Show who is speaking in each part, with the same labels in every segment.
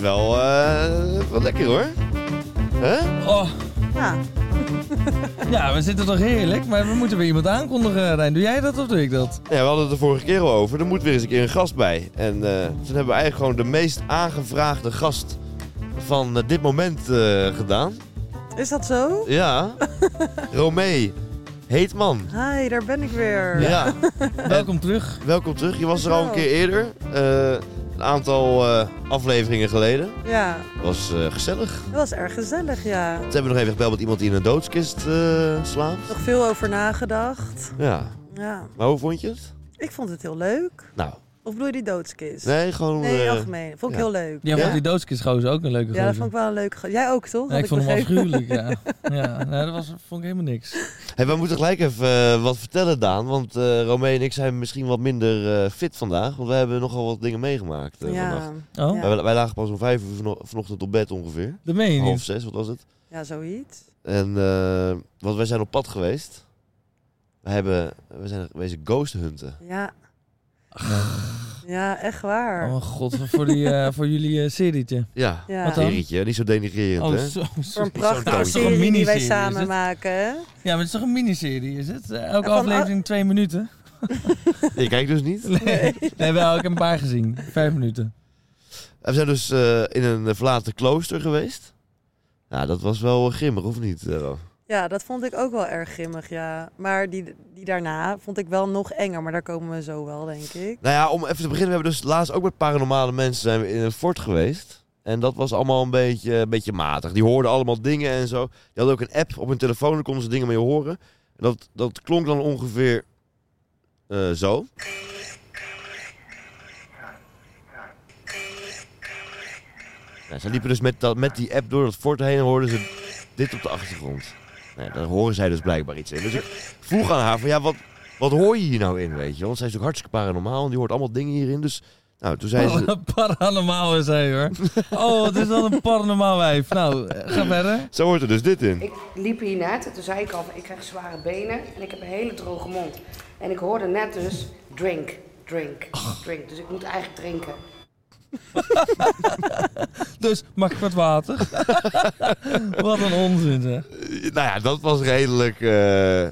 Speaker 1: wel, eh, wel lekker hoor. Hè?
Speaker 2: Oh,
Speaker 3: Ja.
Speaker 2: ja, we zitten toch heerlijk, maar we moeten weer iemand aankondigen, Rijn. Doe jij dat of doe ik dat?
Speaker 1: Ja, we hadden het de vorige keer al over. Er moet weer eens een keer een gast bij. En eh, toen hebben we eigenlijk gewoon de meest aangevraagde gast van eh, dit moment eh, gedaan.
Speaker 3: Is dat zo?
Speaker 1: Ja, Romee Heetman.
Speaker 3: Hi, daar ben ik weer.
Speaker 1: Ja,
Speaker 2: Welkom terug.
Speaker 1: welkom terug. Je was er al een
Speaker 3: Nou.
Speaker 1: keer eerder. eh, een aantal eh, afleveringen geleden.
Speaker 3: Ja,
Speaker 1: Was eh, gezellig.
Speaker 3: dat was erg gezellig, ja.
Speaker 1: Ze hebben nog even gebeld met iemand die in een doodskist eh, slaapt.
Speaker 3: Nog veel over nagedacht.
Speaker 1: Ja,
Speaker 3: Ja,
Speaker 1: maar hoe vond je het?
Speaker 3: ik vond het heel leuk.
Speaker 1: Nou,
Speaker 3: Of bedoel je die doodskist?
Speaker 1: nee, gewoon...
Speaker 3: Nee,
Speaker 1: eh,
Speaker 3: algemeen. Vond ik
Speaker 1: ja.
Speaker 3: heel leuk.
Speaker 2: Ja,
Speaker 1: Ja?
Speaker 2: vond die doodskistgozer ook een leuke
Speaker 3: Ja, dat
Speaker 2: gozer.
Speaker 3: vond ik wel een leuk. ge- Jij ook, toch?
Speaker 2: Ja,
Speaker 3: Had
Speaker 2: ik vond hem
Speaker 3: begrepen.
Speaker 2: afschuwelijk, ja. ja nou, dat was, vond ik helemaal niks.
Speaker 1: Hey, we moeten gelijk even eh, wat vertellen, Daan. Want eh Romee en ik zijn misschien wat minder eh, fit vandaag. Want we hebben nogal wat dingen meegemaakt eh, vannacht.
Speaker 3: Ja.
Speaker 2: Oh,
Speaker 3: Ja.
Speaker 1: Wij, wij lagen pas om vijf uur vano- vanochtend op bed ongeveer.
Speaker 2: dat meen je
Speaker 3: Oh,
Speaker 1: Half
Speaker 2: niet.
Speaker 1: zes, wat was het?
Speaker 3: ja, zoiets.
Speaker 1: En eh, want wij zijn op pad geweest. We, hebben, we zijn geweest ghost hunten.
Speaker 3: Ja,
Speaker 2: Nee.
Speaker 3: ja echt waar.
Speaker 2: Oh mijn god, voor, die, eh, voor jullie eh, serietje.
Speaker 1: Ja,
Speaker 3: Ja.
Speaker 1: een
Speaker 3: Wat dan?
Speaker 1: serietje. Niet zo denigrerend,
Speaker 2: Oh,
Speaker 1: hè?
Speaker 2: zo,
Speaker 3: Voor
Speaker 2: sorry.
Speaker 3: een prachtige
Speaker 1: toontje.
Speaker 2: Toch een
Speaker 3: serie die wij
Speaker 2: miniserie is
Speaker 3: samen
Speaker 2: het?
Speaker 3: maken. hè?
Speaker 2: Ja, maar het is toch een miniserie, is het? Eh, Elke
Speaker 3: Ja, van-
Speaker 2: aflevering twee minuten?
Speaker 1: Je kijkt dus niet.
Speaker 2: Nee, nee wel, ik heb een paar gezien. Vijf minuten.
Speaker 1: En we zijn dus eh, in een verlaten klooster geweest. Ja, dat was wel grimmig, of niet? eh, Ro?
Speaker 3: Ja, dat vond ik ook wel erg grimmig, ja. Maar die, die daarna vond ik wel nog enger. Maar daar komen we zo wel, denk ik.
Speaker 1: Nou ja, om even te beginnen, we hebben dus laatst ook met paranormale mensen zijn we in een fort geweest. En dat was allemaal een beetje, een beetje matig. Die hoorden allemaal dingen en zo. Die hadden ook een app op hun telefoon, daar konden ze dingen mee horen. En dat, dat klonk dan ongeveer eh, zo. Ja, ze liepen dus met, dat, met die app door dat fort heen en hoorden ze dit op de achtergrond. Nee, daar horen zij dus blijkbaar iets in. Dus ik vroeg aan haar van ja, wat, wat hoor je hier nou in, weet je? Want zij is ook hartstikke paranormaal en die hoort allemaal dingen hierin. Dus nou, toen zei
Speaker 2: Wat
Speaker 1: ze...
Speaker 2: een paranormaal is hij hoor. Oh, wat is dat een paranormaal wijf. Nou, eh, ga verder.
Speaker 1: Zo hoort er dus dit in.
Speaker 4: Ik liep hier net en toen zei ik al, van, ik krijg zware benen en ik heb een hele droge mond. En ik hoorde net dus, drink, drink, drink. Dus ik moet eigenlijk drinken.
Speaker 2: Dus, mag ik wat water? wat een onzin zeg.
Speaker 1: Nou ja, dat was redelijk... eh,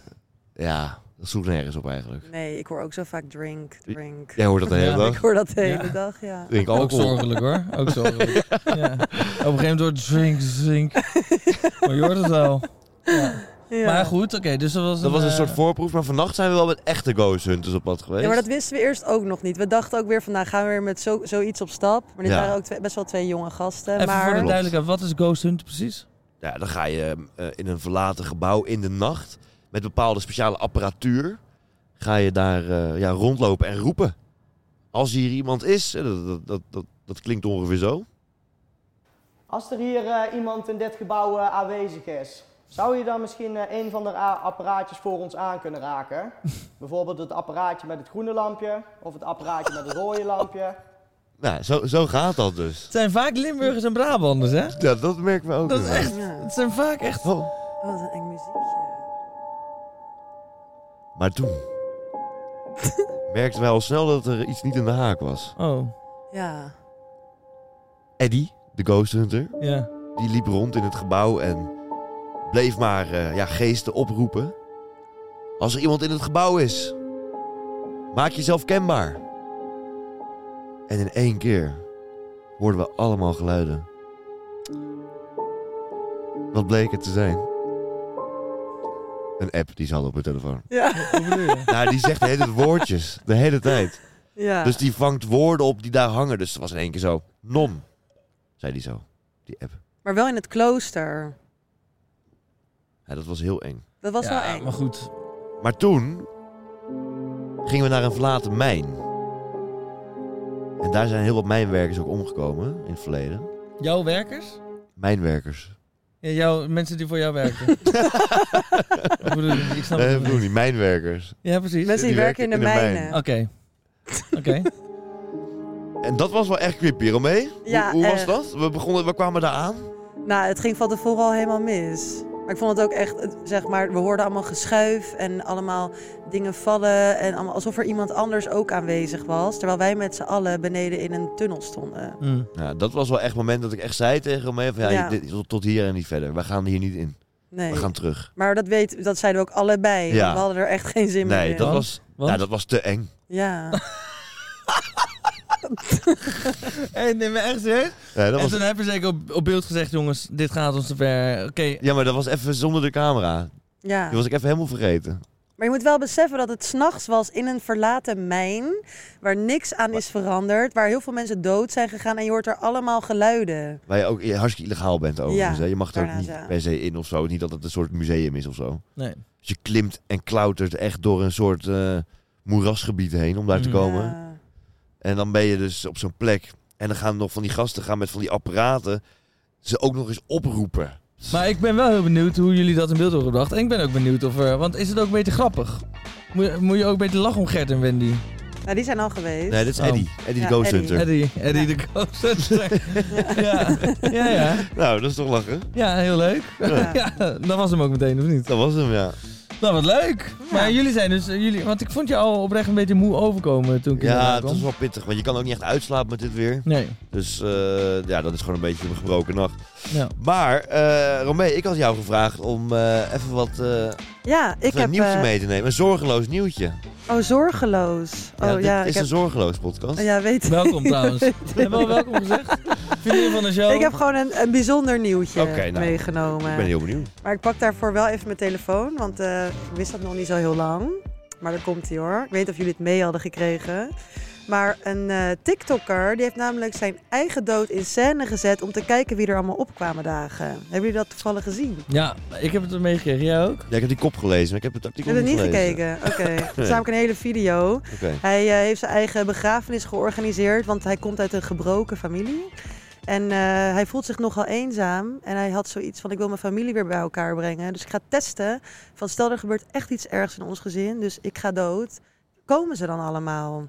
Speaker 1: ja, dat sloeg nergens op eigenlijk.
Speaker 3: Nee, ik hoor ook zo vaak drink, drink.
Speaker 1: Jij hoort dat de hele
Speaker 2: Ja.
Speaker 1: dag. oh,
Speaker 3: Ik hoor dat de
Speaker 2: Ja.
Speaker 3: hele dag, ja.
Speaker 1: Drink
Speaker 2: Ook
Speaker 1: alcohol.
Speaker 2: zorgelijk hoor. Ook zorgelijk. Ja. Op een gegeven moment wordt het drink, drink. Maar je hoort het al. Ja.
Speaker 3: ja.
Speaker 2: Maar goed, oké. dus dat was
Speaker 1: Dat was een
Speaker 2: eh,
Speaker 1: soort voorproef, maar vannacht zijn we wel met echte ghost hunters op pad geweest.
Speaker 3: Ja, maar dat wisten we eerst ook nog niet. We dachten ook weer van, nou gaan we weer met zo, zoiets op stap. Maar dit
Speaker 1: Ja.
Speaker 3: waren ook twee- best wel twee jonge gasten.
Speaker 2: Even voor de
Speaker 3: maar
Speaker 1: Klopt.
Speaker 2: duidelijkheid, wat is Ghost Hunt precies?
Speaker 1: Ja, dan ga je eh, in een verlaten gebouw in de nacht met bepaalde speciale apparatuur. Ga je daar eh, ja, rondlopen en roepen. Als hier iemand is, eh, dat, dat, dat, dat, dat klinkt ongeveer zo.
Speaker 5: Als er hier eh, iemand in dit gebouw eh, aanwezig is, zou je dan misschien eh, een van de a- apparaatjes voor ons aan kunnen raken? Bijvoorbeeld het apparaatje met het groene lampje of het apparaatje met het rode lampje.
Speaker 1: Nou, zo, zo gaat dat dus.
Speaker 2: Het zijn vaak Limburgers en Brabanders, hè?
Speaker 1: Ja, dat merken we ook.
Speaker 2: Dat is
Speaker 1: wel.
Speaker 2: echt...
Speaker 3: Ja.
Speaker 2: Het zijn vaak echt...
Speaker 1: Oh.
Speaker 3: Oh, wat een eng muziekje.
Speaker 1: Maar toen merkten wij al snel dat er iets niet in de haak was.
Speaker 2: Oh,
Speaker 3: Ja,
Speaker 1: Eddie, de ghost hunter,
Speaker 2: ja.
Speaker 1: die liep rond in het gebouw en bleef maar eh, ja, geesten oproepen. Als er iemand in het gebouw is, maak jezelf kenbaar. En in één keer hoorden we allemaal geluiden. Wat bleek het te zijn? Een app die ze hadden op hun telefoon.
Speaker 3: ja,
Speaker 2: Hoe bedoel je?
Speaker 1: Nou, die zegt de hele tijd woordjes. De hele tijd.
Speaker 3: ja.
Speaker 1: Dus die vangt woorden op die daar hangen. Dus het was in één keer zo. Non. Zei die zo. Die app.
Speaker 3: Maar wel in het klooster.
Speaker 1: Ja, dat was heel eng.
Speaker 3: Dat was
Speaker 2: ja,
Speaker 3: wel eng.
Speaker 2: maar goed.
Speaker 1: Maar toen gingen we naar een verlaten mijn. En daar zijn heel wat mijnwerkers ook omgekomen in het verleden.
Speaker 2: Jouw werkers?
Speaker 1: Mijnwerkers.
Speaker 2: Ja, jouw, mensen die voor jou werken. Wat bedoel je?
Speaker 3: Oh,
Speaker 2: Ik snap
Speaker 1: Nee, Eh,
Speaker 2: het
Speaker 1: ik bedoel
Speaker 2: niet.
Speaker 1: niet, mijnwerkers.
Speaker 2: Ja, precies. Oké.
Speaker 3: Mensen die, werken in de,
Speaker 1: mijn.
Speaker 3: mijnen.
Speaker 2: Oké.
Speaker 1: En dat was wel echt creepy, Romee.
Speaker 3: Ja, eh.
Speaker 1: hoe hoe was
Speaker 3: echt.
Speaker 1: dat? We, begonnen, we kwamen daar aan.
Speaker 3: Nou, het ging van tevoren al helemaal mis. Maar ik vond het ook echt, het- zeg maar, we hoorden allemaal geschuif en allemaal dingen vallen. En allemaal, alsof er iemand anders ook aanwezig was. Terwijl wij met z'n allen beneden in een tunnel stonden.
Speaker 2: Mm.
Speaker 1: Ja, dat was wel echt het moment dat ik echt zei tegen Romeo van ja,
Speaker 3: Ja.
Speaker 1: dit- tot, tot hier en niet verder. We gaan hier niet in.
Speaker 3: Nee.
Speaker 1: We gaan terug.
Speaker 3: Maar dat, weet, dat zeiden we ook allebei. want
Speaker 1: Ja.
Speaker 3: We hadden er echt geen zin meer
Speaker 1: Nee,
Speaker 3: in.
Speaker 1: dat
Speaker 2: Want?
Speaker 1: was,
Speaker 2: Want?
Speaker 1: ja, dat was te eng.
Speaker 3: Ja.
Speaker 2: Hey, neem me echt serieus?
Speaker 1: Ja, dat
Speaker 2: en
Speaker 1: was,
Speaker 2: toen hebben ze zeker op, op beeld gezegd, jongens, dit gaat ons te ver. Oké,
Speaker 1: ja, maar dat was even zonder de camera.
Speaker 3: ja.
Speaker 1: Die was ik even helemaal vergeten.
Speaker 3: Maar je moet wel beseffen dat het s'nachts was in een verlaten mijn. Waar niks aan is veranderd. Waar heel veel mensen dood zijn gegaan. En je hoort er allemaal geluiden.
Speaker 1: Waar je ook eh, hartstikke illegaal bent overigens.
Speaker 3: Ja,
Speaker 1: hè. Je mag er ook
Speaker 3: daarnaast,
Speaker 1: niet
Speaker 3: ja.
Speaker 1: per se in of zo. Niet dat het een soort museum is of zo.
Speaker 2: nee.
Speaker 1: Dus je klimt en klautert echt door een soort eh, moerasgebied heen om daar te
Speaker 2: Mhm.
Speaker 1: komen.
Speaker 3: Ja.
Speaker 1: En dan ben je dus op zo'n plek. En dan gaan nog van die gasten gaan met van die apparaten ze ook nog eens oproepen.
Speaker 2: Maar ik ben wel heel benieuwd hoe jullie dat in beeld hebben gebracht. En ik ben ook benieuwd of er... Want is het ook een beetje grappig? Moet, moet je ook een beetje lachen om Gert en Wendy?
Speaker 3: Nou, die zijn al geweest.
Speaker 1: Nee, dit is
Speaker 2: Oh.
Speaker 1: Eddie. Eddie
Speaker 3: Ja,
Speaker 1: de Ghost
Speaker 3: Eddie.
Speaker 1: Hunter.
Speaker 2: Eddie, Eddie de Ghost. ja. Ja, ja.
Speaker 1: Nou, dat is toch lachen?
Speaker 2: Ja, heel leuk.
Speaker 3: Ja.
Speaker 2: Ja, dat was hem ook meteen, of niet?
Speaker 1: Dat was hem, ja.
Speaker 2: Nou, wat leuk. Maar jullie zijn dus... eh, Jullie, want ik vond je al oprecht een beetje moe overkomen toen ik in de
Speaker 1: Ja,
Speaker 2: raad
Speaker 1: dat
Speaker 2: kwam.
Speaker 1: was wel pittig. Want je kan ook niet echt uitslapen met dit weer.
Speaker 2: Nee,
Speaker 1: Dus eh, ja, dat is gewoon een beetje een gebroken nacht.
Speaker 2: ja.
Speaker 1: Maar, eh Romee, ik had jou gevraagd om eh, even wat, eh,
Speaker 3: Ja, ik
Speaker 1: even
Speaker 3: heb...
Speaker 1: een nieuwtje
Speaker 3: eh,
Speaker 1: mee te nemen. Een zorgeloos nieuwtje.
Speaker 3: Oh, zorgeloos. Oh
Speaker 1: dit
Speaker 3: ja,
Speaker 1: is
Speaker 3: ik
Speaker 1: een
Speaker 3: heb...
Speaker 1: zorgeloos podcast.
Speaker 3: Ja, weet
Speaker 2: Welkom trouwens. We hebben al welkom gezegd. Vriendin van de show.
Speaker 3: Ik heb gewoon een, een bijzonder nieuwtje
Speaker 1: Oké, nou,
Speaker 3: meegenomen.
Speaker 1: Ik ben heel benieuwd.
Speaker 3: Maar ik pak daarvoor wel even mijn telefoon, want eh, ik wist dat nog niet zo heel lang. Maar daar komt hij hoor. Ik weet niet of jullie het mee hadden gekregen. Maar een eh TikToker die heeft namelijk zijn eigen dood in scène gezet om te kijken wie er allemaal opkwamen dagen. Hebben jullie dat toevallig gezien?
Speaker 2: Ja, ik heb het meegekregen. Jij ook?
Speaker 1: Ja, ik heb die kop gelezen, maar ik heb het artikel
Speaker 3: Heb je het niet
Speaker 1: gelezen.
Speaker 3: gekeken? Oké. Het is namelijk een hele video.
Speaker 1: Oké.
Speaker 3: Hij eh, heeft zijn eigen begrafenis georganiseerd, want hij komt uit een gebroken familie. En eh, hij voelt zich nogal eenzaam. En hij had zoiets van: Ik wil mijn familie weer bij elkaar brengen. Dus ik ga testen. Van stel er gebeurt echt iets ergs in ons gezin. Dus ik ga dood. Komen ze dan allemaal?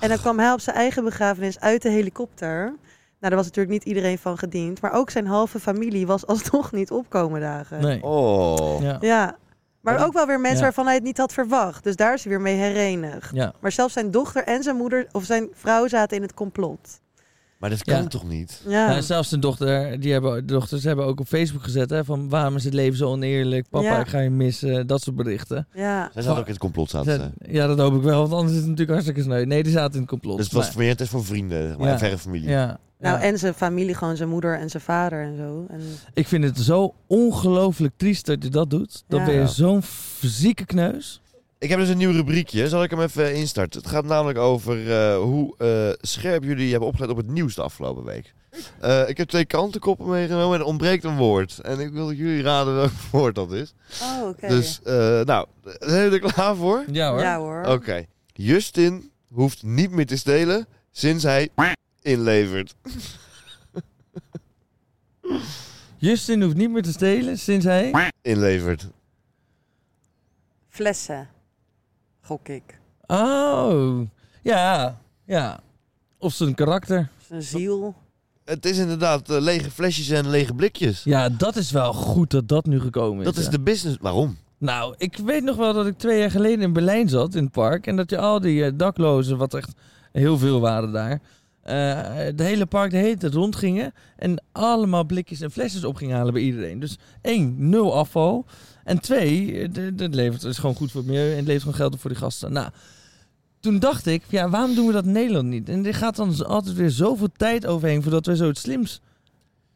Speaker 3: En dan kwam hij op zijn eigen begrafenis uit de helikopter. Nou, daar was natuurlijk niet iedereen van gediend. Maar ook zijn halve familie was alsnog niet opkomen dagen.
Speaker 2: Nee.
Speaker 1: Oh.
Speaker 2: Ja.
Speaker 3: eh, Ja. Maar
Speaker 2: Ja.
Speaker 3: ook wel weer mensen
Speaker 2: Ja.
Speaker 3: waarvan hij het niet had verwacht. Dus daar is hij weer mee herenigd.
Speaker 2: Ja.
Speaker 3: Maar zelfs zijn dochter en zijn moeder of zijn vrouw zaten in het complot.
Speaker 1: Maar dat kan
Speaker 2: Ja.
Speaker 1: toch niet?
Speaker 3: Ja,
Speaker 2: Nou, zelfs de dochter, die hebben, de dochters hebben ook op Facebook gezet hè, van waarom is het leven zo oneerlijk, papa
Speaker 3: Ja.
Speaker 2: ik ga je missen, dat soort berichten.
Speaker 3: ja.
Speaker 1: Zij zaten ook in het Dus complot, zaten ze.
Speaker 2: Ze- ja, dat hoop ik wel, want anders is het natuurlijk hartstikke sneu. Nee, die zaten in het complot.
Speaker 1: eh, Dus het was
Speaker 2: maar-
Speaker 1: meer het is voor vrienden, zeg maar,
Speaker 2: Ja.
Speaker 1: en verre familie.
Speaker 2: ja,
Speaker 3: Nou,
Speaker 2: ja.
Speaker 3: en zijn familie, gewoon zijn moeder en zijn vader en zo. En,
Speaker 2: Ik vind het zo ongelooflijk triest dat je dat doet. Dan
Speaker 3: Ja.
Speaker 2: ben
Speaker 1: Ja.
Speaker 2: je zo'n f- zieke kneus.
Speaker 1: Ik heb dus een nieuw rubriekje. Zal ik hem even eh, instarten? Het gaat namelijk over eh, hoe eh, scherp jullie hebben opgelet op het nieuws de afgelopen week. Eh, ik heb twee kantenkoppen meegenomen en er ontbreekt een woord. En ik wil dat jullie raden welk woord dat is.
Speaker 3: oh, oké.
Speaker 1: Dus, eh, nou, zijn jullie er klaar voor?
Speaker 2: Ja hoor.
Speaker 3: Ja hoor.
Speaker 1: Oké. Justin hoeft niet meer te stelen sinds hij inlevert.
Speaker 2: Justin hoeft niet meer te stelen sinds hij...
Speaker 1: Inlevert.
Speaker 3: Flessen. Gok ik.
Speaker 2: Oh, ja, ja. Of zijn karakter.
Speaker 3: Zijn ziel.
Speaker 1: Het is inderdaad eh, lege flesjes en lege blikjes.
Speaker 2: Ja, dat is wel goed dat dat nu gekomen is.
Speaker 1: Dat is
Speaker 2: ja.
Speaker 1: de business. Waarom?
Speaker 2: Nou, ik weet nog wel dat ik twee jaar geleden in Berlijn zat, in het park. En dat je al die eh, daklozen, wat echt heel veel waren daar. eh, het hele park de hele tijd rondgingen. En allemaal blikjes en flesjes op gingen halen bij iedereen. Dus één, nul afval. En twee, eh, d- dat levert, het is gewoon goed voor het milieu en het levert gewoon geld op voor die gasten. Nou, toen dacht ik, ja, waarom doen we dat in Nederland niet? En er gaat dan z- altijd weer zoveel tijd overheen voordat we zoiets slims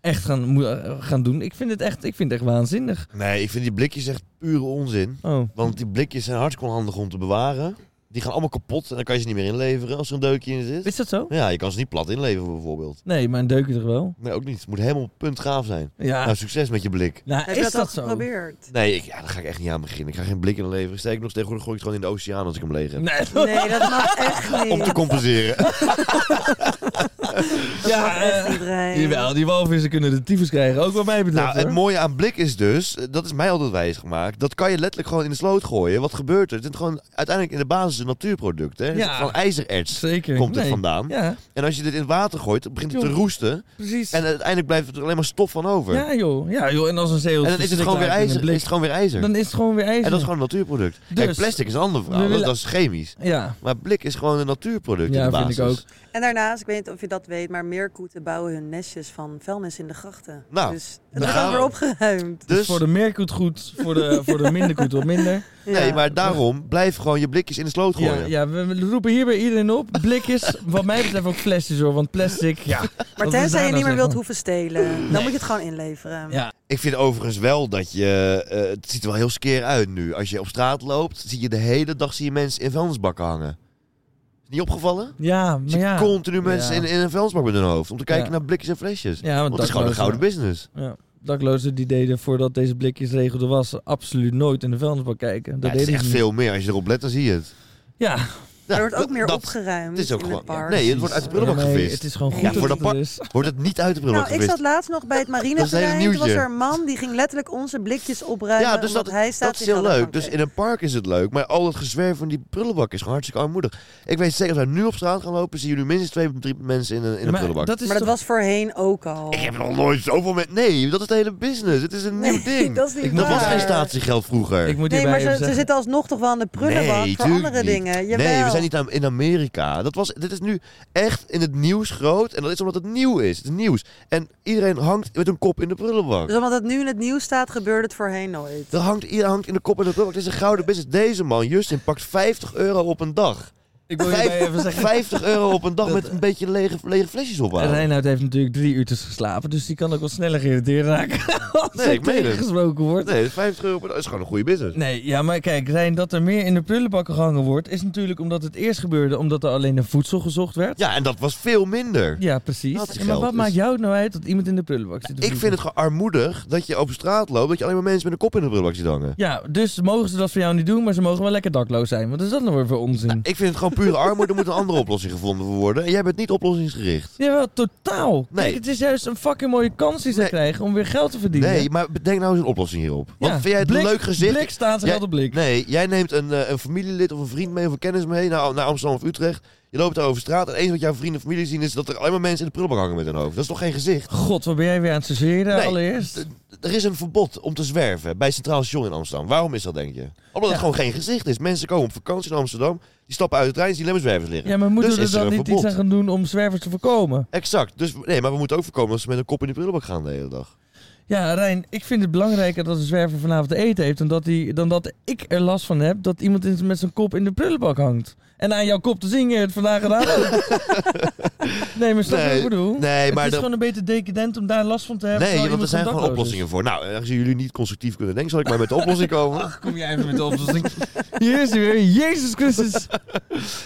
Speaker 2: echt gaan, moe- eh, gaan doen. Ik vind het echt, ik vind het echt waanzinnig.
Speaker 1: Nee, ik vind die blikjes echt pure onzin.
Speaker 2: Oh.
Speaker 1: Want die blikjes zijn hartstikke handig om te bewaren. Die gaan allemaal kapot en dan kan je ze niet meer inleveren als er een deukje in zit.
Speaker 2: Is dat zo?
Speaker 1: Ja, je kan ze niet plat inleveren bijvoorbeeld.
Speaker 2: Nee, maar een deuk toch wel?
Speaker 1: Nee, ook niet. Het moet helemaal puntgaaf zijn.
Speaker 2: Ja.
Speaker 1: Nou, succes met je blik.
Speaker 2: nou,
Speaker 3: Heb
Speaker 2: is
Speaker 3: je dat, al
Speaker 2: dat zo?
Speaker 3: geprobeerd?
Speaker 1: Nee, ik, ja, daar ga ik echt niet aan beginnen. Ik ga geen blik inleveren. Sterker nog, tegenwoordig gooi ik het gewoon in de oceaan als ik hem leeg heb.
Speaker 2: Nee.
Speaker 3: Nee, dat mag echt
Speaker 1: Om te
Speaker 3: niet. compenseren.
Speaker 1: compenseren.
Speaker 2: Ja,
Speaker 3: Echt
Speaker 2: eh,
Speaker 3: niet, Rijn.
Speaker 2: jawel, die walvissen kunnen de tyfus krijgen. Ook wat mij betreft.
Speaker 1: nou, het
Speaker 2: hoor.
Speaker 1: mooie aan blik is dus, eh, dat is mij altijd wijs gemaakt, dat kan je letterlijk gewoon in de sloot gooien. Wat gebeurt er? Het is gewoon uiteindelijk in de basis een natuurproduct. Hè?
Speaker 2: Ja.
Speaker 1: Van ijzererts
Speaker 2: Zeker.
Speaker 1: komt het
Speaker 2: Nee.
Speaker 1: vandaan.
Speaker 2: Ja,
Speaker 1: En als je dit in het water gooit, dan begint het te
Speaker 2: Joh.
Speaker 1: roesten.
Speaker 2: precies.
Speaker 1: En uiteindelijk blijft er alleen maar stof van over.
Speaker 2: ja, joh. ja, joh. En als een zeehond
Speaker 1: en dan is het, gewoon weer
Speaker 2: verstikt raakt in
Speaker 1: ijzer,
Speaker 2: een blik,
Speaker 1: is het gewoon weer ijzer.
Speaker 2: Dan is het gewoon weer ijzer.
Speaker 1: En dat is gewoon een natuurproduct.
Speaker 2: Dus-
Speaker 1: Kijk, plastic is een ander verhaal,
Speaker 2: We
Speaker 1: dat,
Speaker 2: willen-
Speaker 1: dat is chemisch.
Speaker 2: Ja,
Speaker 1: Maar blik is gewoon een natuurproduct
Speaker 2: Ja,
Speaker 1: in de
Speaker 2: vind
Speaker 1: basis.
Speaker 2: ik ook.
Speaker 3: En daarnaast, ik weet niet of je dat weet, maar meerkoeten bouwen hun nestjes van vuilnis in de grachten.
Speaker 1: Nou,
Speaker 3: dus
Speaker 1: daar
Speaker 3: het wordt
Speaker 1: gaan
Speaker 3: dan
Speaker 1: we.
Speaker 3: weer opgeruimd.
Speaker 2: dus,
Speaker 1: Dus,
Speaker 2: voor de meerkoet goed, voor de, voor de minderkoet wat minder.
Speaker 1: nee,
Speaker 3: Ja.
Speaker 1: maar daarom blijf gewoon je blikjes in de sloot
Speaker 2: Ja,
Speaker 1: gooien.
Speaker 2: ja, we we roepen hierbij iedereen op. Blikjes, wat mij betreft ook flesjes hoor, want plastic, ja.
Speaker 3: Maar
Speaker 2: Wat is
Speaker 3: tenzij
Speaker 2: daar
Speaker 3: je
Speaker 2: nou
Speaker 3: niet meer
Speaker 2: zeg
Speaker 3: wilt
Speaker 2: van?
Speaker 3: hoeven stelen, dan moet je het gewoon inleveren.
Speaker 2: Ja.
Speaker 1: Ik vind overigens wel dat je... eh, het ziet er wel heel skeer uit nu. Als je op straat loopt, zie je de hele dag zie je mensen in vuilnisbakken hangen. Is niet opgevallen?
Speaker 2: Ja,
Speaker 1: Je
Speaker 2: maar
Speaker 1: ziet
Speaker 2: ja.
Speaker 1: continu mensen
Speaker 2: Ja.
Speaker 1: in, in een vuilnisbak met hun hoofd. Om te kijken
Speaker 2: Ja.
Speaker 1: naar blikjes en flesjes.
Speaker 2: Ja, want
Speaker 1: Want dat is gewoon een gouden business.
Speaker 2: Ja. Daklozen die deden voordat deze blikjesregel er was, absoluut nooit in de vuilnisbak kijken.
Speaker 1: Ja,
Speaker 2: Dat
Speaker 1: het is
Speaker 2: deden
Speaker 1: echt
Speaker 2: ze niet.
Speaker 1: veel meer. Als je erop let, dan zie je het.
Speaker 2: Ja,
Speaker 3: Er
Speaker 1: Ja,
Speaker 3: wordt ook meer
Speaker 1: dat-
Speaker 3: opgeruimd
Speaker 1: het is ook
Speaker 3: in
Speaker 1: gewoon-
Speaker 3: het park.
Speaker 1: nee, het wordt uit de prullenbak
Speaker 2: Nee,
Speaker 1: gevist.
Speaker 2: Het is gewoon
Speaker 3: Ja,
Speaker 2: goed
Speaker 3: voor
Speaker 1: dat
Speaker 2: dat het
Speaker 1: pak-
Speaker 2: er is.
Speaker 1: Wordt het niet uit de prullenbak
Speaker 3: Nou, ik
Speaker 1: gewist.
Speaker 3: zat laatst nog bij het
Speaker 1: hele
Speaker 3: marineterrein. Toen was
Speaker 1: nieuwtje.
Speaker 3: er een man die ging letterlijk onze blikjes opruimen.
Speaker 1: Ja, dus
Speaker 3: omdat
Speaker 1: dat,
Speaker 3: hij staat
Speaker 1: dat is
Speaker 3: in
Speaker 1: heel
Speaker 3: Galapagos.
Speaker 1: leuk. Dus in een park is het leuk, maar al het gezwerf van die prullenbak is gewoon hartstikke armoedig. Ik weet zeker, als wij nu op straat gaan lopen, zien jullie minstens twee, drie mensen in een, in een
Speaker 2: Maar
Speaker 1: prullenbak.
Speaker 2: dat is
Speaker 3: Maar dat
Speaker 2: toch-
Speaker 3: was voorheen ook al.
Speaker 1: dus Ik heb nog nooit zoveel met... Nee, dat is de hele business. Het is een
Speaker 3: Nee,
Speaker 1: nieuw ding.
Speaker 3: dat is niet
Speaker 2: Ik moet-
Speaker 1: Dat was
Speaker 3: waar.
Speaker 1: geen statiegeld vroeger.
Speaker 2: Ik moet
Speaker 3: Nee,
Speaker 2: hierbij
Speaker 3: maar
Speaker 2: even
Speaker 3: ze, ze
Speaker 2: zeggen-
Speaker 3: zitten alsnog toch wel in de prullenbak voor
Speaker 1: tuurlijk
Speaker 3: andere
Speaker 1: niet.
Speaker 3: dingen. Jawel.
Speaker 1: Nee, we zijn niet aan- in Amerika. Dat was, dit is nu echt in het nieuws groot. En dat is omdat het nieuw is. Het is nieuws. En iedereen hangt met een kop in de prullenbak.
Speaker 3: Dus omdat het nu in het nieuws staat, gebeurde het voorheen nooit.
Speaker 1: Er hangt, iedereen hangt in de kop in de prullenbak. Het is een gouden business. Deze man, Justin, pakt 50 euro op een dag.
Speaker 2: Ik wil hierbij even zeggen...
Speaker 1: 50 euro op een dag
Speaker 2: Dat-
Speaker 1: met een beetje lege, lege flesjes ophalen.
Speaker 2: Reinoud heeft natuurlijk drie uurtjes geslapen, dus die kan ook wel sneller geïrriteerd raken als
Speaker 1: Nee,
Speaker 2: hij
Speaker 1: ik meen het.
Speaker 2: tegengesproken wordt.
Speaker 1: Nee, 50 euro per dag is gewoon een goede business.
Speaker 2: Nee, ja, maar kijk, Rijn, dat er meer in de prullenbakken gehangen wordt, is natuurlijk omdat het eerst gebeurde omdat er alleen naar voedsel gezocht werd.
Speaker 1: Ja, en dat was veel minder.
Speaker 2: Ja, precies.
Speaker 1: Dat is
Speaker 2: maar
Speaker 1: geld,
Speaker 2: wat
Speaker 1: dus-
Speaker 2: maakt jou het nou uit dat iemand in de prullenbak zit? te
Speaker 1: Ik
Speaker 2: vliegen?
Speaker 1: vind het gewoon armoedig dat je op straat loopt, dat je alleen maar mensen met een kop in de prullenbak ziet hangen.
Speaker 2: Ja, dus mogen ze dat voor jou niet doen, maar ze mogen wel lekker dakloos zijn. Wat is dat nou weer voor onzin?
Speaker 1: Ik vind het gewoon pure armoede. Er moet een andere oplossing gevonden worden. En jij bent niet oplossingsgericht.
Speaker 2: Jawel, totaal.
Speaker 1: Nee.
Speaker 2: Kijk, het is juist een fucking mooie kans die ze
Speaker 1: Nee.
Speaker 2: krijgen om weer geld te verdienen.
Speaker 1: Nee, maar bedenk nou eens een oplossing hierop. Want
Speaker 2: Ja,
Speaker 1: vind jij het
Speaker 2: blik-
Speaker 1: een leuk gezicht?
Speaker 2: Blik staat er
Speaker 1: Jij-
Speaker 2: wel de blik.
Speaker 1: Nee, jij neemt een, eh, een familielid of een vriend mee of een kennis mee naar, naar Amsterdam of Utrecht. Je loopt daar over straat en eens wat jouw vrienden en familie zien is dat er alleen maar mensen in de prullenbak hangen met hun hoofd. Dat is toch geen gezicht?
Speaker 2: God, wat ben jij weer aan het sorteren
Speaker 1: Nee.
Speaker 2: allereerst?
Speaker 1: D- Er is een verbod om te zwerven bij Centraal Station in Amsterdam. Waarom is dat, denk je? Omdat
Speaker 2: Ja.
Speaker 1: het gewoon geen gezicht is. Mensen komen op vakantie in Amsterdam, die stappen uit de trein en zien alleen maar zwervers liggen.
Speaker 2: Ja, maar moeten
Speaker 1: dus
Speaker 2: we
Speaker 1: is
Speaker 2: er
Speaker 1: er
Speaker 2: dan
Speaker 1: een
Speaker 2: niet iets
Speaker 1: verbod.
Speaker 2: aan gaan doen om zwervers te voorkomen?
Speaker 1: Exact. Dus, nee, maar we moeten ook voorkomen dat ze met een kop in de prullenbak gaan de hele dag.
Speaker 2: Ja, Rijn, ik vind het belangrijker dat een zwerver vanavond eten heeft dan dat, hij, dan dat ik er last van heb dat iemand in- met zijn kop in de prullenbak hangt. En aan jouw kop te zingen het vandaag gedaan. nee, maar snap je wat ik bedoel?
Speaker 1: nee
Speaker 2: het
Speaker 1: maar
Speaker 2: is
Speaker 1: dat-
Speaker 2: gewoon een beetje decadent om daar last van te hebben.
Speaker 1: nee,
Speaker 2: terwijl
Speaker 1: want er zijn
Speaker 2: iemand
Speaker 1: gewoon
Speaker 2: dakloos is.
Speaker 1: oplossingen voor. Nou, aangezien jullie niet constructief kunnen denken, zal ik maar met de oplossing komen.
Speaker 2: Kom jij even met de oplossing? Hier is hij weer, Jezus Christus.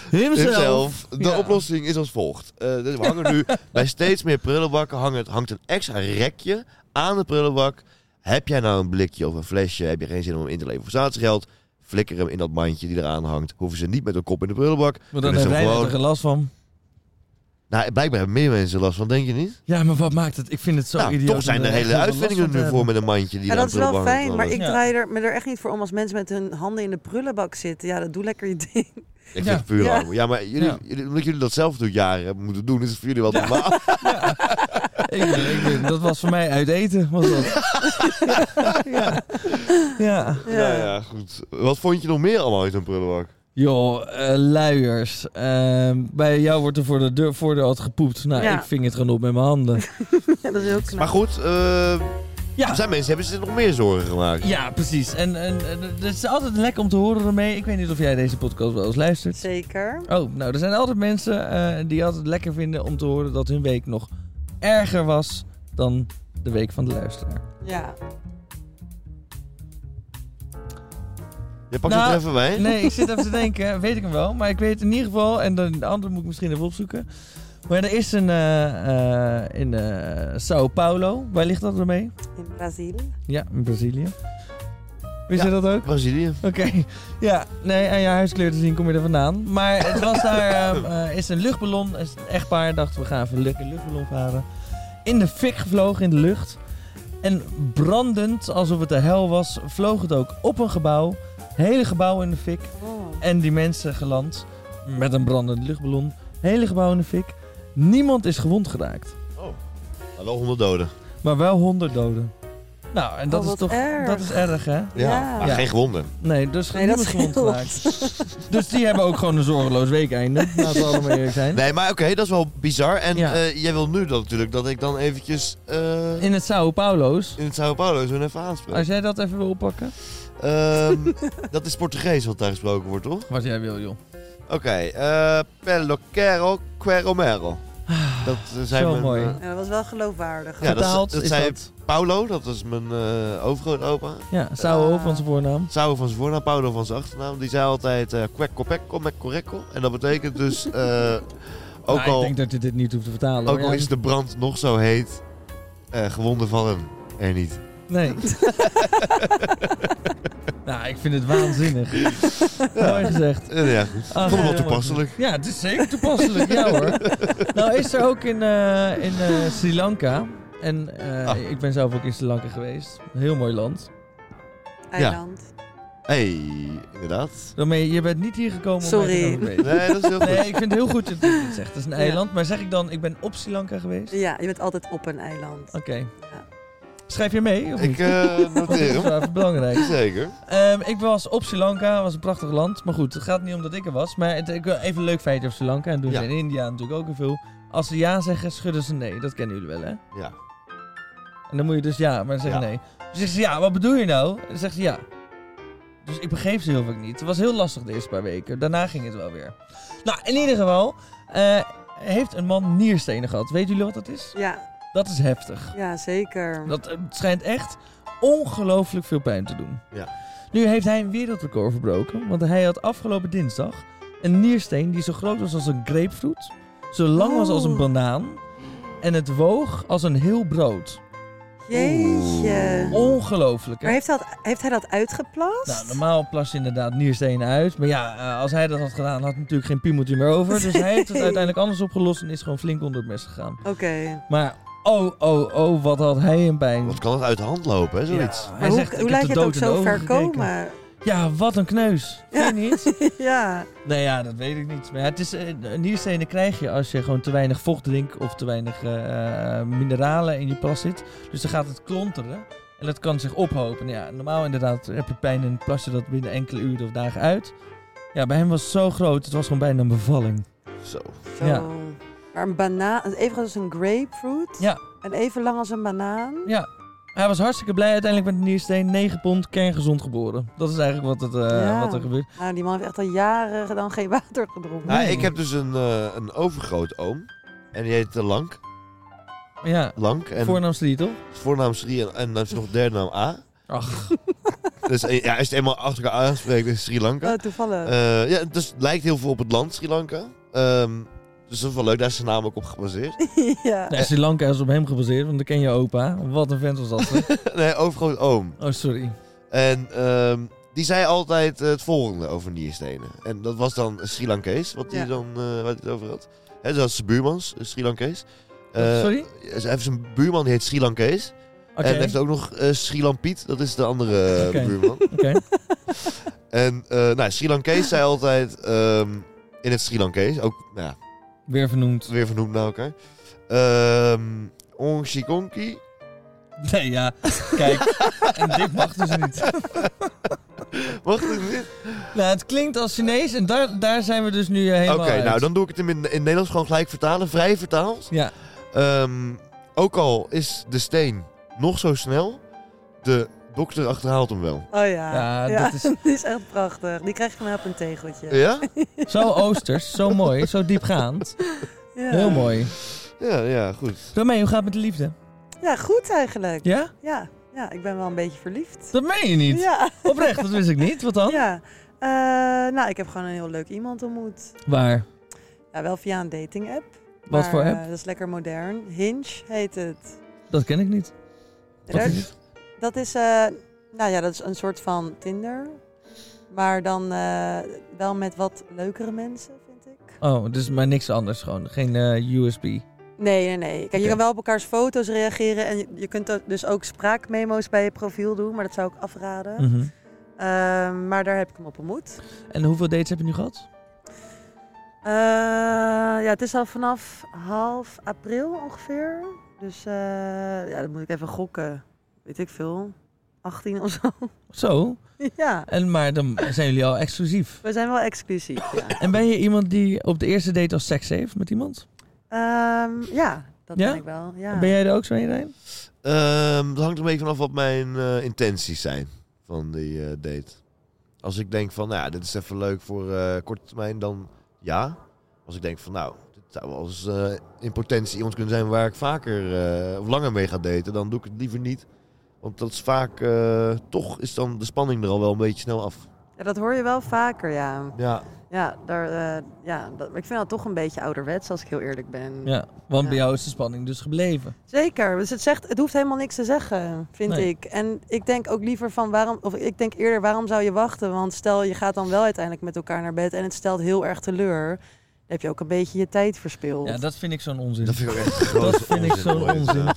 Speaker 2: Himself.
Speaker 1: Himself. De
Speaker 2: Ja.
Speaker 1: oplossing is als volgt. Eh, dus we hangen nu bij steeds meer prullenbakken hangt, hangt een extra rekje aan de prullenbak. Heb jij nou een blikje of een flesje? Heb je geen zin om hem in te leveren voor staatsgeld? Flikker hem in dat mandje die eraan hangt. Hoeven ze niet met hun kop in de prullenbak.
Speaker 2: Maar dan
Speaker 1: Kunnen
Speaker 2: heeft
Speaker 1: ze
Speaker 2: Rijn
Speaker 1: gewoon...
Speaker 2: er geen last van.
Speaker 1: Nou, blijkbaar hebben meer mensen last van, denk je niet?
Speaker 2: Ja, maar wat maakt het? Ik vind het zo
Speaker 1: nou,
Speaker 2: idioot.
Speaker 1: toch zijn
Speaker 2: om
Speaker 1: er
Speaker 2: echt
Speaker 1: hele
Speaker 2: heel veel
Speaker 1: uitvindingen
Speaker 2: last van
Speaker 1: nu
Speaker 2: te
Speaker 1: voor
Speaker 2: hebben.
Speaker 1: met een mandje die
Speaker 3: Ja,
Speaker 1: aan
Speaker 3: dat
Speaker 1: de
Speaker 3: is wel
Speaker 1: prullenbak hangt.
Speaker 3: fijn, maar ik
Speaker 2: Ja.
Speaker 3: draai er, me er echt niet voor om als mensen met hun handen in de prullenbak zitten. Ja, dat doe lekker je ding.
Speaker 1: Ik vind
Speaker 2: Ja.
Speaker 1: het puur
Speaker 3: Ja.
Speaker 1: armoede. Ja, maar jullie,
Speaker 2: Ja.
Speaker 1: jullie- omdat jullie dat zelf natuurlijk jaren hebben moeten doen, is het voor jullie wel normaal.
Speaker 2: Ik, ik- ik- dat was voor mij uit eten, was dat. ja. ja.
Speaker 3: Ja.
Speaker 1: Nou ja, goed. Wat vond je nog meer allemaal uit een prullenbak?
Speaker 2: Joh, eh, luiers. Ehm, bij jou wordt er voor de deur, voordeur altijd gepoept. Nou,
Speaker 3: Ja.
Speaker 2: ik ving het gewoon op met mijn handen.
Speaker 3: Ja, dat is heel knap.
Speaker 1: Maar goed, eh,
Speaker 2: Ja.
Speaker 1: er zijn mensen hebben zich nog meer zorgen gemaakt.
Speaker 2: Ja, precies. En, en eh, d- het is altijd lekker om te horen ermee. Ik weet niet of jij deze podcast wel eens luistert.
Speaker 3: Zeker.
Speaker 2: Oh, nou, er zijn altijd mensen eh, die altijd lekker vinden om te horen dat hun week nog erger was dan de week van de luisteraar.
Speaker 3: Ja.
Speaker 1: Je pakt
Speaker 2: Nou,
Speaker 1: het er even bij.
Speaker 2: Nee, ik zit even te denken, weet ik hem wel, maar ik weet in ieder geval, en dan de andere moet ik misschien even opzoeken. Maar er is een eh, eh, in eh, Sao Paulo, waar ligt dat ermee?
Speaker 3: In Brazil.
Speaker 2: Ja, in Brazilië. Wist
Speaker 1: Ja.
Speaker 2: je dat ook?
Speaker 1: Brazilië.
Speaker 2: Oké, ja, nee, aan je huiskleur te zien kom je er vandaan. Maar het was daar, ehm, eh, is een luchtballon, is een echtpaar, dachten we gaan even lekker luchtballon varen. In de fik gevlogen in de lucht. En brandend, alsof het de hel was, vloog het ook op een gebouw. Hele gebouw in de fik.
Speaker 4: Oh.
Speaker 2: En die mensen geland met een brandende luchtballon. Hele gebouw in de fik. Niemand is gewond geraakt.
Speaker 1: Oh. Hallo, 100 doden.
Speaker 2: Maar wel 100 doden. Nou, en dat
Speaker 3: Oh,
Speaker 2: is
Speaker 3: wat
Speaker 2: toch
Speaker 3: erg.
Speaker 2: dat is erg, hè?
Speaker 1: Ja,
Speaker 3: Ja.
Speaker 1: maar
Speaker 2: Ja.
Speaker 1: geen gewonden.
Speaker 2: Nee, dus
Speaker 3: Nee,
Speaker 2: niemand
Speaker 3: dat
Speaker 2: gewond
Speaker 3: scheelt.
Speaker 2: geraakt. dus die hebben ook gewoon een zorgeloos weekeinde. Laten we allemaal eerlijk zijn.
Speaker 1: Nee, maar oké, dat is wel bizar. En
Speaker 2: Ja.
Speaker 1: eh, jij wil nu dan natuurlijk dat ik dan eventjes eh,
Speaker 2: In het Sao Paulo's.
Speaker 1: in het Sao Paulo zo'n even aanspreek.
Speaker 2: Als jij dat even wil oppakken.
Speaker 1: Ehm, dat is Portugees wat daar gesproken wordt, toch?
Speaker 2: Wat jij wil, joh.
Speaker 1: Oké, eh Peloquero Queromero. Dat eh, zijn
Speaker 2: Ah, Zo
Speaker 1: mijn,
Speaker 2: mooi.
Speaker 1: eh,
Speaker 3: Ja, dat was wel geloofwaardig.
Speaker 1: Ja, dat is-
Speaker 2: Vertaald
Speaker 1: dat
Speaker 2: is
Speaker 1: zei-
Speaker 2: dat.
Speaker 1: Paulo, dat is mijn eh, overgrootopa.
Speaker 2: Ja, Sao
Speaker 3: Ah.
Speaker 2: van zijn voornaam.
Speaker 1: Sao van zijn voornaam, Paulo van zijn achternaam. Die zei altijd eh Queco Peco Mecoreco. En dat betekent dus, eh, ook
Speaker 2: Nou,
Speaker 1: al
Speaker 2: Ik denk dat je dit niet hoeft te vertalen.
Speaker 1: Ook
Speaker 2: hoor.
Speaker 1: al
Speaker 2: Ja,
Speaker 1: is de brand nog zo heet, eh, gewonden vallen er niet.
Speaker 2: Nee. nou, ik vind het waanzinnig. Mooi gezegd.
Speaker 1: Eh, ja, goed.
Speaker 2: Ah,
Speaker 1: Vond het wel
Speaker 2: ja,
Speaker 1: toepasselijk.
Speaker 2: Ja, het is zeker toepasselijk. ja hoor. Nou is er ook in, eh, in eh, Sri Lanka. En eh,
Speaker 1: Ah.
Speaker 2: ik ben zelf ook in Sri Lanka geweest. Een heel mooi land.
Speaker 3: Eiland.
Speaker 1: hey, inderdaad.
Speaker 2: Daarmee, je bent niet hier gekomen
Speaker 3: Sorry.
Speaker 2: om mij te gaan verbeteren.
Speaker 1: Nee, dat is heel goed.
Speaker 2: Nee, ik vind het heel goed dat je dit zegt. Het is een eiland. Maar zeg ik dan, ik ben op Sri Lanka geweest?
Speaker 3: Ja. je bent altijd op een eiland.
Speaker 2: Oké. Schrijf je mee? Of
Speaker 1: Ik
Speaker 2: niet?
Speaker 1: eh,
Speaker 2: Want dit
Speaker 1: noteer
Speaker 2: is
Speaker 1: hem.
Speaker 2: wel even belangrijk.
Speaker 1: Zeker.
Speaker 2: Ehm, ik was op Sri Lanka, was een prachtig land. Maar goed, het gaat niet om dat ik er was. Maar het, ik wil even een leuk feitje over Sri Lanka. En doen
Speaker 1: Ja.
Speaker 2: ze in India natuurlijk ook heel veel. Als ze ja zeggen, schudden ze nee. Dat kennen jullie wel, hè?
Speaker 1: Ja.
Speaker 2: En dan moet je dus ja, maar zeggen
Speaker 1: Ja.
Speaker 2: nee. Dus zegt ze, ja, wat bedoel je nou? En dan zegt ze ja. Dus ik begreep ze heel vaak niet. Het was heel lastig de eerste paar weken. Daarna ging het wel weer. Nou, in ieder geval eh, heeft een man nierstenen gehad. Weet jullie wat dat is?
Speaker 3: Ja,
Speaker 2: Dat is heftig.
Speaker 3: ja zeker.
Speaker 2: Dat eh, schijnt echt ongelooflijk veel pijn te doen.
Speaker 1: Ja.
Speaker 2: Nu heeft hij een wereldrecord verbroken, want hij had afgelopen dinsdag een niersteen die zo groot was als een grapefruit, zo lang was als een
Speaker 3: Oh.
Speaker 2: banaan en het woog als een heel brood.
Speaker 3: Jeetje.
Speaker 2: Ongelooflijk,
Speaker 3: Maar
Speaker 2: hè?
Speaker 3: heeft, dat, heeft hij dat uitgeplast?
Speaker 2: Nou, normaal plas je inderdaad nierstenen uit. Maar ja, eh, als hij dat had gedaan, had hij natuurlijk geen piemeltje meer over. Dus hij heeft het
Speaker 3: Nee.
Speaker 2: uiteindelijk anders opgelost en is gewoon flink onder het mes gegaan.
Speaker 3: Oké.
Speaker 2: Maar oh, oh, oh, wat had hij een pijn.
Speaker 1: Wat kan het uit de hand lopen, hè, zoiets?
Speaker 2: Ja, hij
Speaker 3: Maar hoe,
Speaker 2: zegt, ik
Speaker 3: hoe
Speaker 2: heb
Speaker 3: laat je
Speaker 2: de
Speaker 3: het ook
Speaker 2: dood in de
Speaker 3: zo ver
Speaker 2: ogen gekeken.
Speaker 3: komen?
Speaker 2: Ja, wat een kneus. Vind je niet?
Speaker 3: ja.
Speaker 2: nee, ja, dat weet ik niet. Maar ja, het is, eh, nierstenen krijg je als je gewoon te weinig vocht drinkt of te weinig eh, eh, mineralen in je plas zit. Dus dan gaat het klonteren en dat kan zich ophopen. Nou Ja, normaal inderdaad heb je pijn en plas je dat binnen enkele uren of dagen uit. Ja, bij hem was het zo groot, het was gewoon bijna een bevalling.
Speaker 1: Zo.
Speaker 3: Zo.
Speaker 2: Ja.
Speaker 3: Maar een banaan, even groot als een grapefruit.
Speaker 2: Ja.
Speaker 3: En even lang als een banaan.
Speaker 2: Ja, hij was hartstikke blij uiteindelijk met de niersteen. 9 pond, kerngezond geboren. Dat is eigenlijk wat, het, eh,
Speaker 3: Ja.
Speaker 2: wat er gebeurt.
Speaker 3: Nou, die man heeft echt al jaren dan geen water gedronken.
Speaker 1: Nou,
Speaker 2: Nee.
Speaker 1: ik heb dus een, eh een overgroot oom. En die heet eh, Lank.
Speaker 2: Maar ja,
Speaker 1: Lank. En
Speaker 2: voornaamslied toch?
Speaker 1: voornaam Sri en, en dan is nog derde naam A.
Speaker 2: Ach,
Speaker 1: Dus eh, ja, als je het eenmaal achter elkaar aanspreekt, is het Sri Lanka.
Speaker 3: Oh, toevallig.
Speaker 1: Eh, ja, dus het lijkt heel veel op het land Sri Lanka. Ehm, dus dat is wel leuk, daar is zijn naam ook op gebaseerd.
Speaker 3: ja.
Speaker 2: nee, Sri Lanka is op hem gebaseerd, want dan ken je opa. Wat een vent was dat. hè?
Speaker 1: nee, overgroot oom.
Speaker 2: oh, sorry.
Speaker 1: En ehm, die zei altijd eh, het volgende over nierstenen. En dat was dan Sri Lankees, wat hij
Speaker 3: Ja.
Speaker 1: dan eh, waar hij het over had. Hè, zoals zijn buurmans, eh, Sri Lankees. Eh,
Speaker 2: sorry?
Speaker 1: Hij heeft zijn buurman, die heet Sri Lankees.
Speaker 2: Oké,
Speaker 1: En hij heeft ook nog eh Sri Lampiet, dat is de andere eh,
Speaker 2: Oké.
Speaker 1: buurman.
Speaker 2: oké.
Speaker 1: En eh, nou, Sri Lankees zei altijd ehm, in het Sri Lankees, ook nou, ja,
Speaker 2: weer vernoemd.
Speaker 1: weer vernoemd naar elkaar. Ehm Ong Shikonki.
Speaker 2: Nee, ja, kijk. en dit mag dus niet.
Speaker 1: Mag het niet?
Speaker 2: Nou, het klinkt als Chinees en daar, daar zijn we dus nu eh, helemaal
Speaker 1: Oké,
Speaker 2: uit.
Speaker 1: nou dan doe ik het hem in, in Nederlands gewoon gelijk vertalen, vrij vertaald.
Speaker 2: Ja,
Speaker 1: Ehm, ook al is de steen nog zo snel, de dokter achterhaalt hem wel.
Speaker 3: Oh ja.
Speaker 2: Ja, dat is-
Speaker 3: die is echt prachtig. Die krijg je van mij op een tegeltje.
Speaker 1: Ja?
Speaker 2: zo oosters, zo mooi, zo diepgaand.
Speaker 3: Ja.
Speaker 2: Heel mooi.
Speaker 1: Ja, ja, goed.
Speaker 2: Daarmee, hoe gaat het met de liefde?
Speaker 3: Ja, goed eigenlijk. Ja.
Speaker 2: Ja?
Speaker 3: Ja. ik ben wel een beetje verliefd.
Speaker 2: Dat meen je niet.
Speaker 3: Ja.
Speaker 2: Oprecht, dat wist ik niet. Wat dan?
Speaker 3: ja. Eh, nou, ik heb gewoon een heel leuk iemand ontmoet.
Speaker 2: Waar?
Speaker 3: Ja, wel via een dating app. eh,
Speaker 2: Wat voor app?
Speaker 3: dat is lekker modern. Hinge heet het.
Speaker 2: Dat ken ik niet.
Speaker 3: Ja,
Speaker 2: Wat
Speaker 3: daar-
Speaker 2: is het?
Speaker 3: Dat is, eh, nou ja, dat is een soort van Tinder. Maar dan eh, wel met wat leukere mensen, vind ik.
Speaker 2: Oh, dus maar niks anders gewoon. Geen eh, USB.
Speaker 3: Nee, nee, nee. Kijk,
Speaker 2: Oké.
Speaker 3: je kan wel op elkaars foto's reageren. En je, je kunt er dus ook spraakmemo's bij je profiel doen. Maar dat zou ik afraden.
Speaker 2: Mhm.
Speaker 3: Ehm, maar daar heb ik hem op ontmoet.
Speaker 2: En hoeveel dates heb je nu gehad?
Speaker 3: Eh, ja, het is al vanaf half april ongeveer. Dus eh, ja, dan moet ik even gokken. Weet ik veel. 18 of zo.
Speaker 2: Zo.
Speaker 3: ja,
Speaker 2: En, maar dan zijn jullie al exclusief.
Speaker 3: we zijn wel exclusief. Ja,
Speaker 2: En ben je iemand die op de eerste date al seks heeft met iemand?
Speaker 3: Ehm, ja dat
Speaker 2: Ja?
Speaker 3: ben ik wel. Ja.
Speaker 2: Ben jij er ook zo een, Rijn?
Speaker 1: Ehm, dat hangt er een beetje vanaf wat mijn eh, intenties zijn van die eh, date. Als ik denk van, nou ja, dit is even leuk voor eh, korte termijn, dan ja. Als ik denk van, nou, dit zou wel eens eh, in potentie iemand kunnen zijn waar ik vaker eh, of langer mee ga daten, dan doe ik het liever niet. Want dat is vaak, eh, toch is dan de spanning er al wel een beetje snel af.
Speaker 3: Ja, dat hoor je wel vaker, ja.
Speaker 1: Ja,
Speaker 3: Ja, daar, eh, ja dat, maar ik vind dat toch een beetje ouderwets, als ik heel eerlijk ben.
Speaker 2: Ja, want bij
Speaker 3: Ja.
Speaker 2: jou is de spanning dus gebleven.
Speaker 3: Zeker. Dus het, zegt, het hoeft helemaal niks te zeggen, vind
Speaker 2: Nee.
Speaker 3: ik. En ik denk ook liever van waarom, of ik denk eerder waarom zou je wachten? Want stel je gaat dan wel uiteindelijk met elkaar naar bed en het stelt heel erg teleur. Dan heb je ook een beetje je tijd verspild.
Speaker 2: Ja, dat vind ik zo'n onzin.
Speaker 1: dat vind ik ook echt groot.
Speaker 2: vind ik zo'n onzin.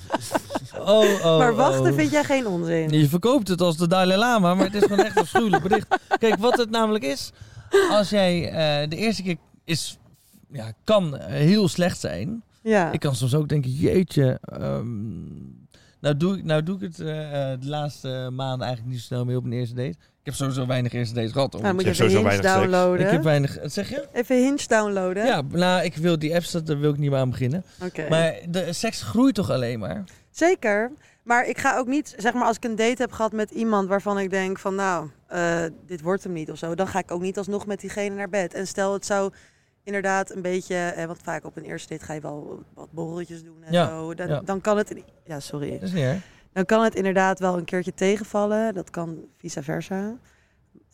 Speaker 2: Oh, oh,
Speaker 3: maar wachten
Speaker 2: oh.
Speaker 3: vind jij geen onzin?
Speaker 2: Je verkoopt het als de Dalai Lama, maar het is gewoon echt een afschuwelijk bericht. Kijk, wat het namelijk is, als jij eh, de eerste keer is, ja, kan eh, heel slecht zijn.
Speaker 3: Ja.
Speaker 2: Ik kan soms ook denken, jeetje, ehm, nou, doe, ik- nou doe ik het eh, eh, de laatste maanden eigenlijk niet zo snel meer op een eerste date. Ik heb sowieso weinig eerste dates gehad. om-
Speaker 3: nou, moet je
Speaker 1: Ik
Speaker 3: even
Speaker 1: heb sowieso
Speaker 3: Hinge
Speaker 1: weinig seks.
Speaker 3: downloaden.
Speaker 2: ik heb weinig, wat zeg je?
Speaker 3: Even Hinge downloaden?
Speaker 2: Ja, nou, ik wil die apps, dat- daar wil ik niet meer aan beginnen.
Speaker 3: Oké.
Speaker 2: Maar de seks groeit toch alleen maar?
Speaker 3: Zeker. Maar ik ga ook niet, zeg maar, als ik een date heb gehad met iemand waarvan ik denk van, nou, eh, dit wordt hem niet of zo, dan ga ik ook niet alsnog met diegene naar bed. En stel het zou inderdaad een beetje, eh, want vaak op een eerste date ga je wel wat borreltjes doen en
Speaker 2: Ja,
Speaker 3: zo. Dan,
Speaker 2: ja.
Speaker 3: dan kan het, in- ja, sorry.
Speaker 2: Dat is niet erg.
Speaker 3: Dan kan het inderdaad wel een keertje tegenvallen. Dat kan vice versa.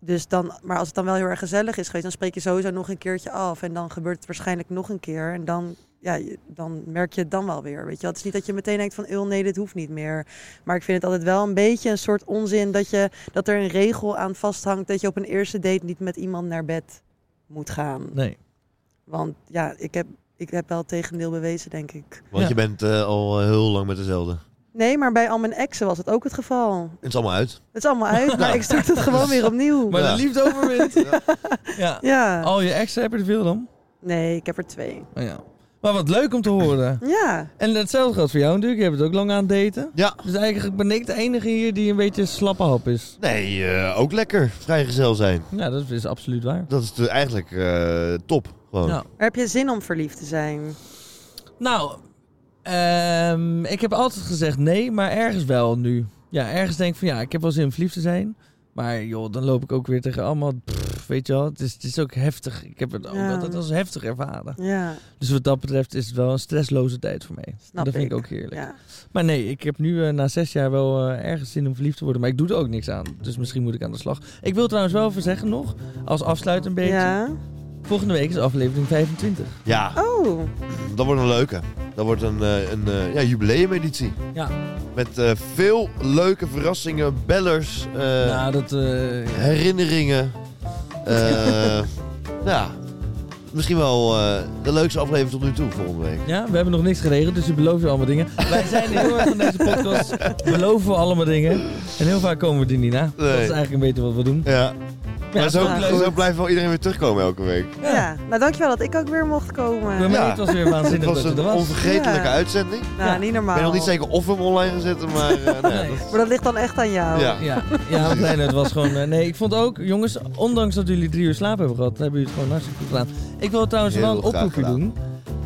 Speaker 3: Dus dan, maar als het dan wel heel erg gezellig is geweest, dan spreek je sowieso nog een keertje af. En dan gebeurt het waarschijnlijk nog een keer. En dan, ja, je- dan merk je het dan wel weer. Weet je? wel. Het is niet dat je meteen denkt van, "Eul, nee, dit hoeft niet meer. Maar ik vind het altijd wel een beetje een soort onzin dat, je, dat er een regel aan vasthangt dat je op een eerste date niet met iemand naar bed moet gaan.
Speaker 2: Nee.
Speaker 3: Want ja, ik heb, ik heb wel het tegendeel bewezen, denk ik.
Speaker 1: Want
Speaker 2: Ja.
Speaker 1: je bent eh, al eh, heel lang met dezelfde.
Speaker 3: Nee, maar bij al mijn exen was het ook het geval.
Speaker 1: Het is allemaal uit.
Speaker 3: Het is allemaal uit, maar ik start het gewoon weer opnieuw.
Speaker 2: Maar Oh.
Speaker 1: Ja.
Speaker 2: de liefde overwint. ja.
Speaker 3: Ja.
Speaker 2: Al je exen heb je er veel dan?
Speaker 3: Nee, ik heb er twee.
Speaker 2: Oh, ja. Maar wat leuk om te horen.
Speaker 3: Ja.
Speaker 2: En hetzelfde geldt voor jou natuurlijk. Je hebt het ook lang aan het daten.
Speaker 1: Ja,
Speaker 2: Dus eigenlijk ben ik de enige hier die een beetje slappe hap is.
Speaker 1: nee, eh, ook lekker. Vrijgezel zijn.
Speaker 2: Ja, dat is absoluut waar.
Speaker 1: Dat is natuurlijk eigenlijk eh, top. Gewoon.
Speaker 2: Ja.
Speaker 3: Maar heb je zin om verliefd te zijn?
Speaker 2: Nou, ehm, ik heb altijd gezegd nee, maar ergens wel nu. Ja, ergens denk ik van ja, ik heb wel zin om verliefd te zijn. Maar joh, dan loop ik ook weer tegen allemaal, pff, weet je wel. Het is, het is ook heftig. Ik heb het ook
Speaker 3: Ja.
Speaker 2: altijd als heftig ervaren.
Speaker 3: Ja,
Speaker 2: Dus wat dat betreft is het wel een stressloze tijd voor mij.
Speaker 3: snap
Speaker 2: dat vind ik,
Speaker 3: ik
Speaker 2: ook heerlijk.
Speaker 3: Ja.
Speaker 2: Maar nee, ik heb nu eh, na zes jaar wel eh, ergens zin om verliefd te worden. Maar ik doe er ook niks aan. Dus misschien moet ik aan de slag. Ik wil trouwens wel even zeggen nog, als afsluit een beetje.
Speaker 3: ja.
Speaker 2: Volgende week is aflevering 25.
Speaker 1: Ja,
Speaker 3: Oh,
Speaker 1: dat wordt een leuke. Dat wordt een, eh, een eh, ja, jubileumeditie.
Speaker 2: Ja,
Speaker 1: Met eh, veel leuke verrassingen, bellers, eh,
Speaker 2: nou dat... eh,
Speaker 1: herinneringen. Eh, ja, misschien wel eh, de leukste aflevering tot nu toe volgende week.
Speaker 2: ja, we hebben nog niks geregeld, dus je belooft je allemaal dingen. Wij zijn heel erg van deze podcast. Beloven we allemaal dingen. En heel vaak komen we er niet na. Dat is eigenlijk een beetje wat we doen.
Speaker 1: Ja, maar zo,
Speaker 3: dat is leuk.
Speaker 1: zo blijft wel iedereen weer terugkomen elke week.
Speaker 3: ja. Nou, dankjewel dat ik ook weer mocht komen.
Speaker 2: Ik ben
Speaker 1: Ja.
Speaker 2: benieuwd, het was weer
Speaker 1: Het
Speaker 2: waanzinnig
Speaker 1: was
Speaker 2: dat je
Speaker 1: een
Speaker 2: er was.
Speaker 1: onvergetelijke
Speaker 3: Ja.
Speaker 1: uitzending.
Speaker 3: Nou,
Speaker 2: Ja.
Speaker 3: niet
Speaker 1: Ik
Speaker 3: normaal.
Speaker 1: ben nog niet zeker of we hem online gaan zetten, maar eh, nou ja,
Speaker 2: Nee.
Speaker 1: dat-
Speaker 3: Maar dat ligt dan echt aan jou.
Speaker 1: ja.
Speaker 2: Ja, ja want Reiner, het was gewoon... eh, nee, ik vond ook, jongens, ondanks dat jullie drie uur slaap hebben gehad, hebben jullie het gewoon hartstikke goed gedaan. Ik wil trouwens
Speaker 1: Heel
Speaker 2: wel een
Speaker 1: graag
Speaker 2: oproepje
Speaker 1: gedaan.
Speaker 2: doen.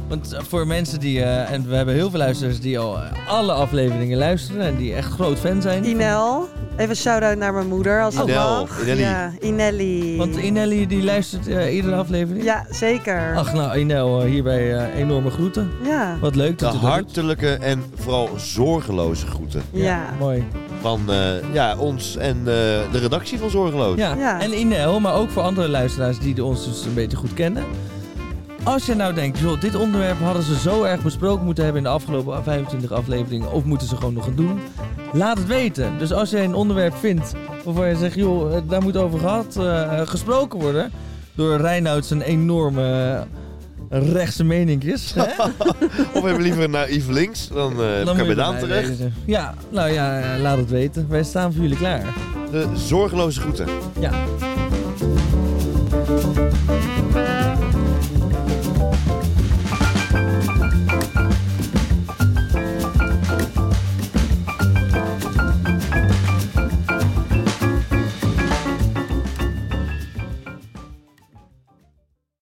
Speaker 2: Want eh, voor mensen die, eh, en we hebben heel veel luisteraars die al eh, alle afleveringen luisteren en die echt groot fan zijn.
Speaker 3: Inel, even een shout-out naar mijn moeder als dat
Speaker 1: Inel,
Speaker 3: mag.
Speaker 1: Inelli.
Speaker 3: Ja, Inelli.
Speaker 2: Want Inelli die luistert eh, iedere aflevering.
Speaker 3: Ja, zeker.
Speaker 2: Ach nou, Inel, eh, hierbij eh, enorme groeten.
Speaker 3: Ja.
Speaker 2: Wat leuk
Speaker 1: De
Speaker 2: dat je dat doet.
Speaker 1: hartelijke en vooral zorgeloze groeten.
Speaker 3: Ja.
Speaker 2: Mooi.
Speaker 1: van eh, ja, ons en eh, de redactie van Zorgeloos.
Speaker 2: Ja.
Speaker 3: Ja.
Speaker 2: en Inel, maar ook voor andere luisteraars die de ons dus een beetje goed kennen. Als je nou denkt, joh, dit onderwerp hadden ze zo erg besproken moeten hebben in de afgelopen 25 afleveringen, of moeten ze gewoon nog gaan doen, laat het weten. Dus als jij een onderwerp vindt waarvan je zegt, joh, eh, daar moet over gehad, eh, gesproken worden, door Reinoud zijn enorme eh, rechtse meninkjes, hè?
Speaker 1: Of hebben we liever naar Yves Links, dan, eh
Speaker 2: moet
Speaker 1: kan
Speaker 2: je
Speaker 1: je
Speaker 2: bij
Speaker 1: dan
Speaker 2: mij
Speaker 1: terecht.
Speaker 2: wezen. Ja, nou ja, eh, laat het weten. Wij staan voor jullie klaar.
Speaker 1: de zorgeloze groeten.
Speaker 2: Ja.